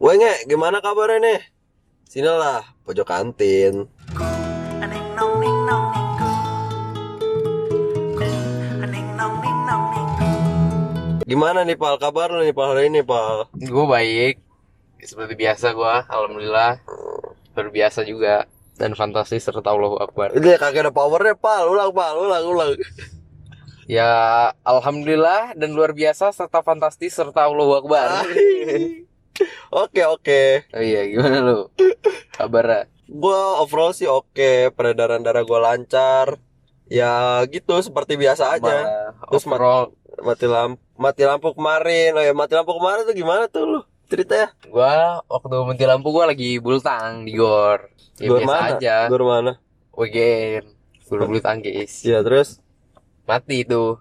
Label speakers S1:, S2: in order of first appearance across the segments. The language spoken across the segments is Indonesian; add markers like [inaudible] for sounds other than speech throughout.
S1: Wanya, gimana kabarnya nih? Sinilah, pojok kantin. Gimana nih, Pal? Kabar lu nih, Pal, hari ini, Pal?
S2: Gue baik Seperti biasa gue Alhamdulillah Luar biasa juga Dan fantastis serta Allahu Akbar
S1: Udah, kagak ada powernya, Pal. Ulang, Pal. Ulang,
S2: [laughs]
S1: ulang.
S2: Ya Alhamdulillah Dan luar biasa serta fantastis serta Allahu
S1: Ah.
S2: Akbar
S1: Oke, oke.
S2: Oh iya gimana lu Kabar
S1: Gua overall sih oke. Peredaran darah gua lancar. Ya gitu, seperti biasa aja. Terus mat-
S2: Overall
S1: Mati lampu, mati lampu kemarin. Oh ya, mati lampu kemarin tuh gimana tuh lu? Cerita ya.
S2: Gue waktu menti lampu gue lagi bultang di gor Ya
S1: Gor
S2: biasa
S1: mana?
S2: aja
S1: Gua mana?
S2: Weekend Guru bulu tangkis
S1: Ya, terus
S2: mati itu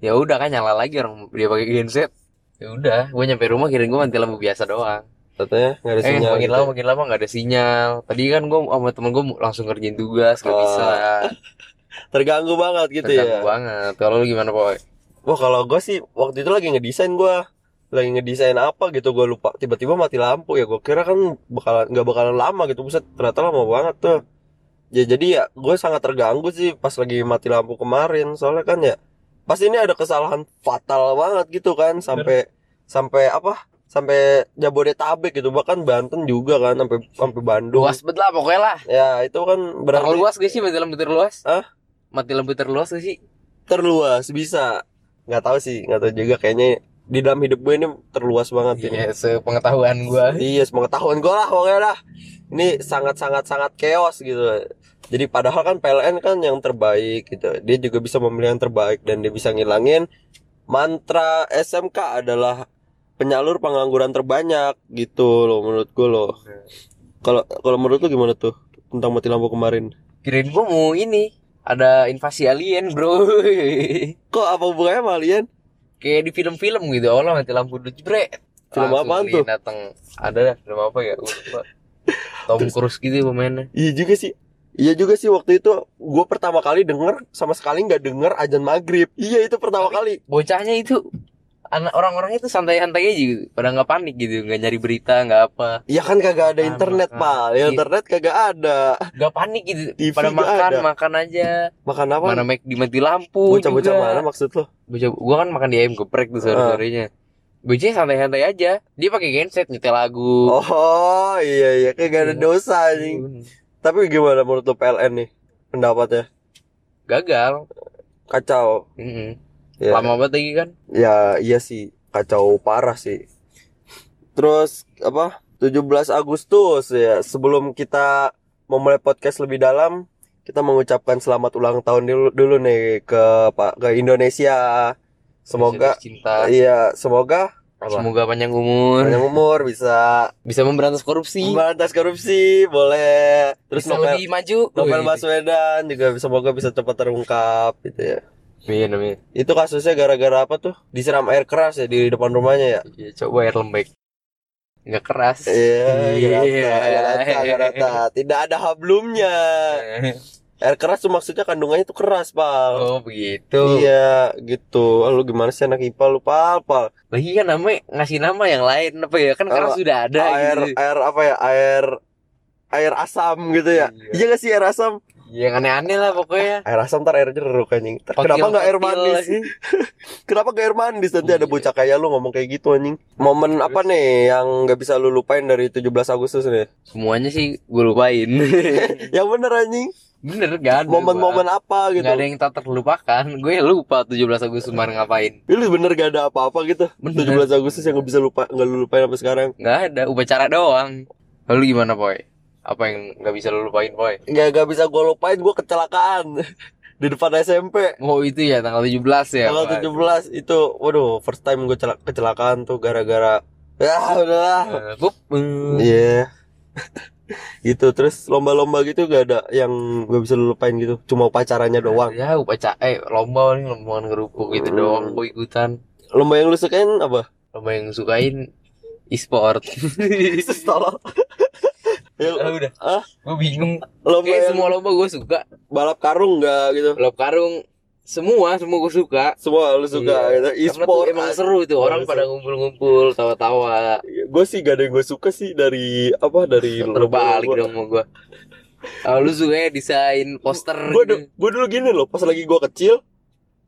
S2: ya udah kan nyala lagi orang dia pakai genset ya udah gue nyampe rumah kirain gue mati lampu biasa doang
S1: katanya nggak ada
S2: eh
S1: sinyal.
S2: makin
S1: gitu.
S2: lama makin lama nggak ada sinyal tadi kan gue sama temen gue langsung kerjain tugas nggak
S1: Oh,
S2: bisa
S1: Terganggu banget gitu
S2: terganggu
S1: ya.
S2: banget kalau lu gimana boy
S1: Wah kalau gue sih waktu itu lagi ngedesain gua lagi ngedesain apa gitu gue lupa tiba-tiba mati lampu ya gue kira kan bakalan nggak bakalan lama gitu buset ternyata lama banget tuh ya jadi ya gue sangat terganggu sih pas lagi mati lampu kemarin soalnya kan ya pasti ini ada kesalahan fatal banget gitu kan sampai sampai apa sampai Jabodetabek gitu bahkan Banten juga kan sampai sampai Bandung
S2: luas bet lah pokoknya lah
S1: ya itu kan berarti
S2: terluas gak sih mati lampu terluas
S1: Hah?
S2: mati lampu terluas gak sih
S1: terluas bisa nggak tahu sih nggak tahu juga kayaknya di dalam hidup gue ini terluas banget ini
S2: Iya, sepengetahuan gue
S1: Iya, sepengetahuan gue lah pokoknya lah. Ini sangat-sangat-sangat chaos gitu. Jadi padahal kan PLN kan yang terbaik gitu. Dia juga bisa memilih yang terbaik dan dia bisa ngilangin mantra SMK adalah penyalur pengangguran terbanyak gitu loh menurut gue loh. Kalau kalau menurut lu gimana tuh tentang mati lampu kemarin?
S2: kirain gue mau ini ada invasi alien bro [laughs]
S1: Kok apa hubungannya sama alien?
S2: kayak di film-film gitu awalnya mati lampu dulu jebret
S1: Film
S2: Langsung
S1: apaan tuh?
S2: datang ada dah film apa ya Gua lupa
S1: [laughs]
S2: Tom Cruise gitu ya pemainnya
S1: Iya juga sih. Iya juga sih waktu itu gue pertama kali denger sama sekali nggak denger ajan maghrib. Iya itu pertama kali.
S2: bocahnya itu anak orang-orang itu santai-santai aja gitu pada nggak panik gitu nggak nyari berita nggak apa
S1: Ya kan kagak ada
S2: Makan,
S1: internet,
S2: makan.
S1: Pak. Ya,
S2: Iya.
S1: Internet kagak ada.
S2: nggak panik gitu
S1: TV
S2: pada
S1: nggak
S2: makan
S1: ada.
S2: makan aja
S1: Makan apa?
S2: mana make di mati lampu
S1: Bocah-bocah Ah.
S2: juga.
S1: mana maksud lo?
S2: bocah gua kan makan di ayam geprek tuh sore sorenya bocahnya santai-santai aja dia pakai genset nyetel lagu
S1: Oh, iya iya, kagak ada
S2: Iya.
S1: dosa anjing. Tapi gimana menurut lo PLN nih pendapatnya?
S2: gagal
S1: Kacau.
S2: Mm-mm.
S1: Ya,
S2: lama banget lagi kan
S1: ya iya sih, kacau parah sih. Terus apa? 17 Agustus ya, sebelum kita memulai podcast lebih dalam, kita mengucapkan selamat ulang tahun dulu, dulu nih ke Pak ke Indonesia. Semoga
S2: cinta
S1: iya, semoga apa?
S2: Semoga panjang umur
S1: panjang umur bisa
S2: bisa memberantas korupsi,
S1: memberantas korupsi boleh terus
S2: bisa
S1: novel
S2: lebih maju.
S1: novel
S2: Wih.
S1: Baswedan juga semoga bisa cepat terungkap gitu ya
S2: Amin, amin.
S1: itu kasusnya gara-gara apa tuh disiram air keras ya di depan rumahnya ya
S2: Iya, coba air lembek. Enggak keras.
S1: Iya, iya,
S2: Iya.
S1: gara-gara, gara-gara, gara-gara. tidak ada hablumnya. Air keras tuh maksudnya kandungannya tuh keras, Pal.
S2: Oh, begitu.
S1: Iya, gitu. Ah, Lu gimana sih anak IPA lu, Pal, Pal?
S2: Lagi kan namanya ngasih nama yang lain apa ya? Kan keras
S1: Oh,
S2: sudah ada
S1: air
S2: gitu.
S1: air apa ya? Air air asam gitu ya.
S2: Iya.
S1: Iya nggak sih air asam?
S2: Yang aneh-aneh lah pokoknya.
S1: Air asam ntar air jeruk anjing. Ntar Kenapa nggak air manis? [laughs] Kenapa gak air manis nanti ada
S2: Iya.
S1: bocah kayak lu ngomong kayak gitu anjing momen apa nih yang nggak bisa lu lupain dari 17 Agustus nih
S2: Semuanya sih gue lupain. [laughs]
S1: yang bener anjing
S2: Bener gak ada.
S1: momen-momen apa gitu
S2: Gak ada yang tak terlupakan Gue lupa 17 Agustus kemarin ngapain
S1: Ih, lu bener gak ada apa-apa gitu
S2: Bener.
S1: 17 Agustus yang gak bisa lupa nggak lu lupain sampai sekarang
S2: Gak ada, upacara doang Lalu gimana Boy? Apa yang gak bisa lu lupain Boy?
S1: nggak nggak bisa gua lupain gua kecelakaan [laughs] di depan SMP
S2: Oh itu ya tanggal 17 ya
S1: tanggal
S2: Boy?
S1: 17 itu waduh first time gua celak- kecelakaan tuh gara-gara ya udahlah
S2: Eh, Bup Eh,
S1: Iya. gitu terus lomba-lomba gitu gak ada yang gak bisa lu lupain gitu cuma upacaranya doang
S2: Ya upacara, eh lomba nih lomba ngerupuk gitu
S1: Hmm.
S2: doang Gue ikutan
S1: lomba yang lu sukain
S2: [laughs]
S1: apa
S2: Lomba yang sukain e-sport
S1: Yesus tolong
S2: Ah,
S1: Ya,
S2: udah
S1: Ah?
S2: Gue bingung
S1: lomba
S2: Kayak
S1: yang
S2: semua lomba gue suka
S1: balap karung gak gitu
S2: Balap karung semua semua gue suka
S1: semua lu suka gitu.
S2: Iya. Karena tuh
S1: e-sport
S2: emang seru itu
S1: Oh,
S2: orang
S1: seru.
S2: pada ngumpul-ngumpul tawa-tawa
S1: gue sih gak ada yang gue suka sih dari apa dari
S2: terbalik dong sama gue Ah, lu suka ya desain poster
S1: gue
S2: gitu.
S1: gue dulu gini loh pas lagi gue kecil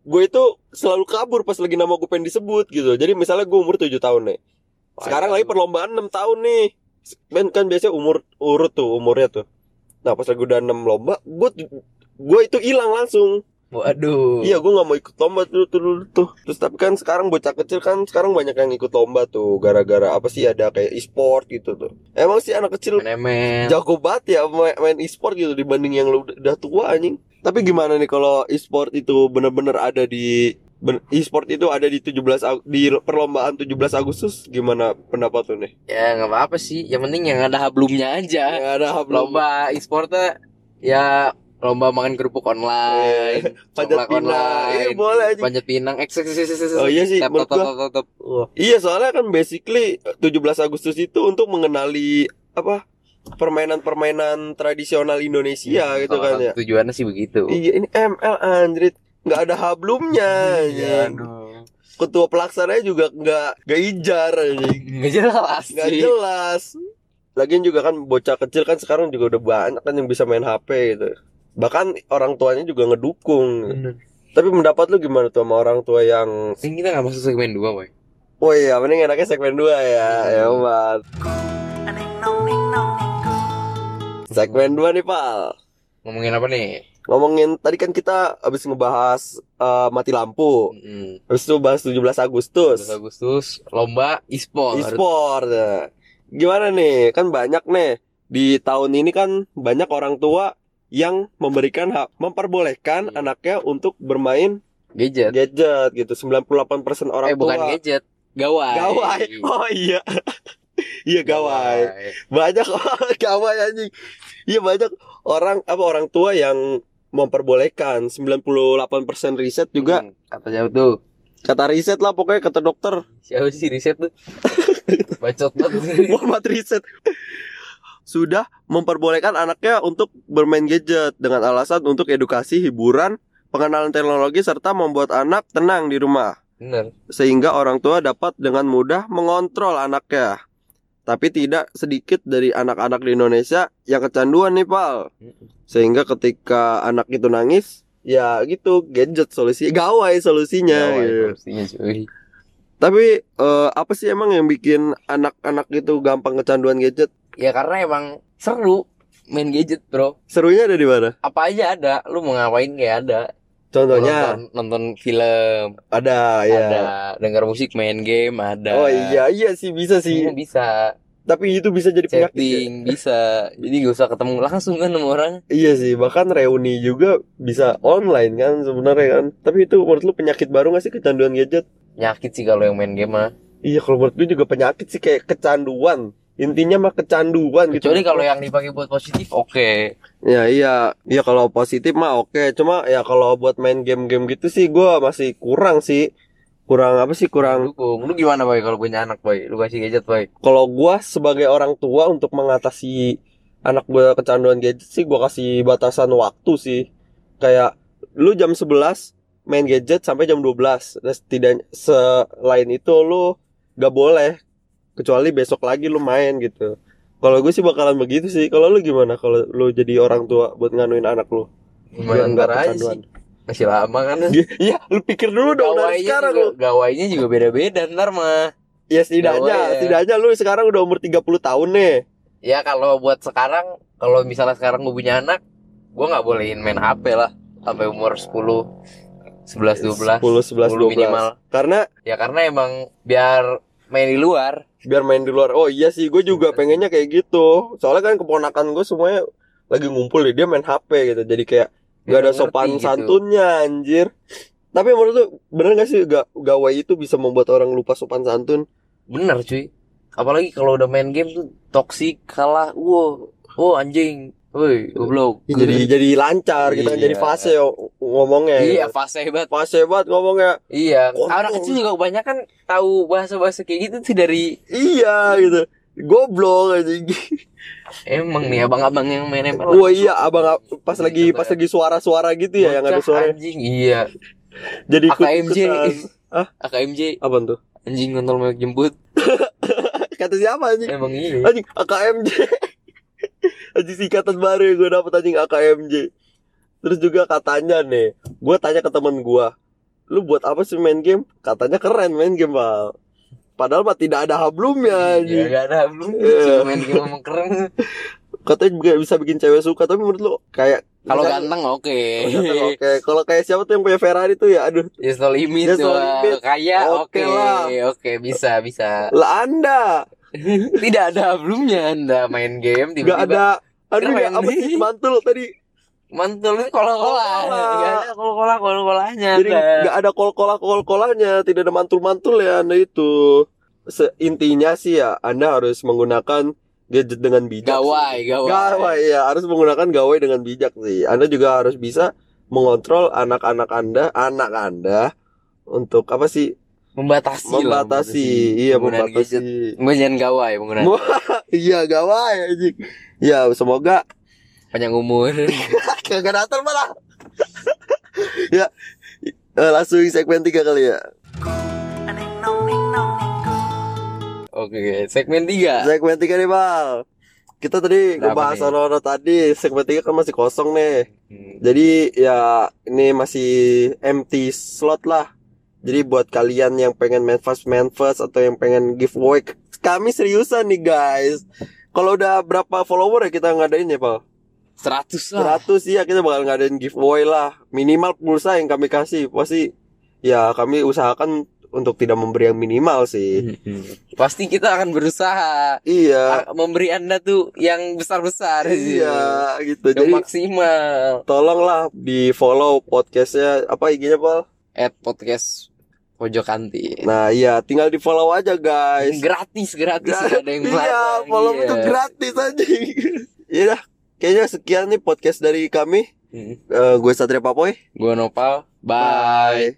S1: gue itu selalu kabur pas lagi nama gue pengen disebut gitu jadi misalnya gue umur 7 tahun nih sekarang lagi perlombaan 6 tahun nih kan, kan biasanya umur urut tuh umurnya tuh nah pas lagi udah 6 lomba gue gue itu hilang langsung
S2: waduh
S1: iya gue nggak mau ikut lomba dulu tuh, dulu tuh terus tapi kan sekarang bocah kecil kan sekarang banyak yang ikut lomba tuh gara-gara apa sih ada kayak e-sport gitu tuh emang sih anak kecil
S2: MMM
S1: jago banget ya main, main e-sport gitu dibanding yang lu udah- udah tua anjing. Tapi gimana nih kalau e-sport itu bener-bener ada di ben- e-sport itu ada di 17 Ag- di perlombaan 17 Agustus gimana pendapat lu nih?
S2: ya nggak apa-apa sih yang penting yang ada hablumnya aja
S1: Ya, ada belum
S2: Eh, lomba e-sportnya ya lomba makan kerupuk online
S1: panjat
S2: coklat
S1: pinang. Iya
S2: online
S1: boleh anjing.
S2: panjat pinang eks eks eks eks eks.
S1: Oh iya sih
S2: Tap,
S1: menurut
S2: tap,
S1: gua.
S2: tap, tap, tap.
S1: Iya soalnya kan basically 17 Agustus itu untuk mengenali apa permainan-permainan tradisional Indonesia gitu
S2: Iya, Salah
S1: kan
S2: satu
S1: ya.
S2: tujuannya sih begitu
S1: Iya ini ML anjrit nggak ada hablumnya
S2: Iya,
S1: anjing.
S2: aduh.
S1: ketua pelaksananya juga nggak nggak ijar anjing.
S2: nggak jelas
S1: nggak
S2: sih.
S1: jelas lagian juga kan bocah kecil kan sekarang juga udah banyak kan yang bisa main HP gitu bahkan orang tuanya juga ngedukung
S2: Bener.
S1: tapi pendapat lu gimana tuh sama orang tua yang
S2: Ini kita nggak masuk segmen dua, boy.
S1: oh iya mending enaknya segmen 2 ya
S2: Hmm.
S1: ya Pak segmen 2 nih Pal
S2: Ngomongin apa nih?
S1: ngomongin tadi kan kita habis ngebahas eh, mati lampu
S2: Mm,
S1: habis itu bahas 17 Agustus
S2: 17 Agustus lomba e-sport.
S1: e-sport. Nah, Gimana nih? Kan banyak nih di tahun ini kan banyak orang tua yang memberikan hak memperbolehkan
S2: Iya.
S1: anaknya untuk bermain
S2: Gadget.
S1: gadget gitu. 98% orang
S2: eh bukan
S1: tua
S2: gadget, gawai.
S1: gawai. Oh iya. Iya [laughs] gawai. Banyak orang [laughs] gawai anjing. Iya banyak orang apa orang tua yang memperbolehkan 98% riset juga
S2: Hmm, Kata siapa tuh?
S1: kata riset lah pokoknya kata dokter
S2: Siapa sih riset
S1: [laughs]
S2: tuh? Bacot banget.
S1: Muhammad Riset sudah memperbolehkan anaknya untuk bermain gadget dengan alasan untuk edukasi, hiburan, pengenalan teknologi serta membuat anak tenang di rumah
S2: Bener.
S1: sehingga orang tua dapat dengan mudah mengontrol anaknya. Tapi tidak sedikit dari anak-anak di Indonesia yang kecanduan nih, Pal. Sehingga ketika anak itu nangis, ya gitu, gadget solusi, gawai solusinya
S2: Gawai
S1: gitu.
S2: pastinya, cuy.
S1: Tapi eh, apa sih emang yang bikin anak-anak itu gampang kecanduan gadget?
S2: Ya karena emang seru main gadget, Bro.
S1: Serunya ada di mana?
S2: Apa aja ada, lu mau ngapain kayak ada.
S1: Contohnya
S2: Nonton, nonton film,
S1: ada ya.
S2: ada denger musik, main game, ada.
S1: Oh iya iya sih bisa sih.
S2: Iya, bisa.
S1: Tapi itu bisa jadi penyakit. ya?
S2: chatting bisa jadi gak usah ketemu langsung kan sama orang
S1: Iya sih, bahkan reuni juga bisa online kan sebenarnya kan. Tapi itu menurut lu penyakit baru gak sih kecanduan gadget?
S2: nyakit sih kalau yang main game mah
S1: Iya, kalau menurut gue juga penyakit sih kayak kecanduan. Intinya mah kecanduan gitu.
S2: kecuali kalau yang dipakai buat positif oke
S1: Ya iya, iya kalau positif mah oke. Cuma ya kalau buat main game-game gitu sih gua masih kurang sih. Kurang apa sih? Kurang
S2: dukung lu gimana boy kalau punya anak boy lu kasih gadget boy
S1: kalau gua sebagai orang tua untuk mengatasi anak gua kecanduan gadget sih gua kasih batasan waktu sih. Kayak lu jam 11 main gadget sampai jam 12. Nah, setidaknya selain itu lu gak boleh kecuali besok lagi lu main gitu. Kalau gue sih bakalan begitu sih. Kalau lu gimana kalau lu jadi orang tua buat nganuin anak lu?
S2: gimana
S1: Biar
S2: ntar
S1: nggak
S2: aja
S1: kecanduan.
S2: sih masih lama kan
S1: [laughs] Iya, lu pikir dulu dong dari
S2: Gawainya
S1: sekarang
S2: juga,
S1: lu.
S2: gawainya juga beda-beda ntar mah
S1: Ya setidaknya,
S2: Gawai ya.
S1: setidaknya lu sekarang udah umur 30 tahun nih.
S2: ya kalau buat sekarang kalau misalnya sekarang gue punya anak gue nggak bolehin main hp lah sampai umur 10 11
S1: 10,
S2: 12
S1: 11, 12.
S2: minimal
S1: Karena
S2: ya karena emang biar main di luar
S1: biar main di luar. Oh iya sih, gue juga pengennya kayak gitu. Soalnya kan keponakan gue semuanya lagi ngumpul deh, dia main HP gitu. Jadi kayak gak ada
S2: Iya, Ngerti
S1: sopan
S2: gitu.
S1: santunnya anjir. Tapi menurut lu bener gak sih ga- gawai itu bisa membuat orang lupa sopan santun?
S2: Bener cuy Apalagi kalau udah main game tuh Toxic kalah Wow Oh anjing Woi goblok
S1: Ya, jadi jadi lancar gitu kan, jadi
S2: Iya.
S1: fase o- ngomongnya.
S2: Iya
S1: gitu.
S2: fase hebat
S1: Fase banget ngomongnya.
S2: Iya
S1: Kontol.
S2: Anak kecil juga kebanyakan tahu bahasa-bahasa kayak gitu sih dari
S1: Iya gitu. goblok anjing
S2: Emang nih abang-abang yang main ML.
S1: wah iya abang pas lagi pas lagi suara-suara gitu ya yang ada
S2: ya. Bocah,
S1: suara
S2: Anjing, iya.
S1: jadi ikut
S2: AKMJ.
S1: ikutan Hah?
S2: AKMJ
S1: apa tuh
S2: anjing kontol merek jemput.
S1: kata siapa anjing
S2: Emang iya.
S1: anjing AKMJ [laughs] anjing singkatan baru yang gue dapet anjing AKMJ terus juga katanya nih gue tanya ke temen gue lu buat apa sih main game katanya keren main game pal padahal mah tidak ada hablumnya
S2: Ya
S1: anjing
S2: enggak ada belum
S1: Iya.
S2: cuma main game
S1: [laughs]
S2: emang keren.
S1: katanya juga bisa bikin cewek suka tapi menurut lu kayak
S2: Kalau
S1: misalnya-
S2: ganteng oke.
S1: Kalau ganteng, [laughs] oke kalau kayak siapa tuh yang punya Ferrari tuh ya aduh
S2: Yes no limit
S1: Yes, no
S2: doang.
S1: limit.
S2: Kaya
S1: Oke
S2: oke.
S1: lah.
S2: Oke, bisa bisa.
S1: lah anda
S2: Tidak ada belumnya Anda main game
S1: nggak
S2: tiba-tiba
S1: ada aduh
S2: Keren.
S1: ya apa sih mantul tadi
S2: mantul itu kola-kola.
S1: Kola-kola.
S2: Enggak ada kola-kola kola-kolanya.
S1: Jadi
S2: Anda.
S1: nggak ada kol-kolah kol-kolahnya, tidak ada mantul-mantul ya Anda itu. Se- intinya sih ya Anda harus menggunakan gadget dengan bijak.
S2: Gawai,
S1: sih.
S2: gawai.
S1: Gawai ya, harus menggunakan gawai dengan bijak sih. Anda juga harus bisa mengontrol anak-anak Anda, anak Anda untuk apa sih?
S2: Membatasi, lah,
S1: membatasi, iya
S2: penggunaan
S1: membatasi.
S2: gadget. Penggunaan gawai, penggunaan
S1: Wah, iya gawai anjing. Ya, semoga [laughs]
S2: panjang umur. [laughs]
S1: Kagak datar malah. [laughs] ya. eh, langsung segmen 3 kali ya.
S2: Oke, segmen 3.
S1: Segmen 3 nih, Bal. Kita tadi
S2: Kenapa
S1: ngebahas
S2: nih?
S1: orang-orang tadi, segmen 3 kan masih kosong nih.
S2: Hmm.
S1: Jadi ya ini masih empty slot lah. Jadi buat kalian yang pengen main fast main fast atau yang pengen giveaway, kami seriusan nih guys. Kalau udah berapa follower ya kita ngadain ya, Pal?
S2: 100 lah.
S1: 100 iya kita bakal ngadain giveaway lah. Minimal pulsa yang kami kasih pasti ya kami usahakan untuk tidak memberi yang minimal
S2: Hmm.
S1: sih.
S2: Pasti kita akan berusaha
S1: Iya.
S2: a- memberi Anda tuh yang besar-besar.
S1: Iya gitu.
S2: Yang
S1: Jadi
S2: maksimal.
S1: tolonglah di follow podcastnya apa IG-nya Pal?
S2: At podcast pojok kantin.
S1: Nah iya tinggal di follow aja guys.
S2: gratis, gratis, nggak ada yang
S1: Iya
S2: melarang,
S1: follow
S2: iya.
S1: itu gratis aja. [laughs] Iya dah. Kayaknya sekian nih podcast dari kami.
S2: Hmm.
S1: Eh, gue Satria Papoy.
S2: Gua Nopal. Bye.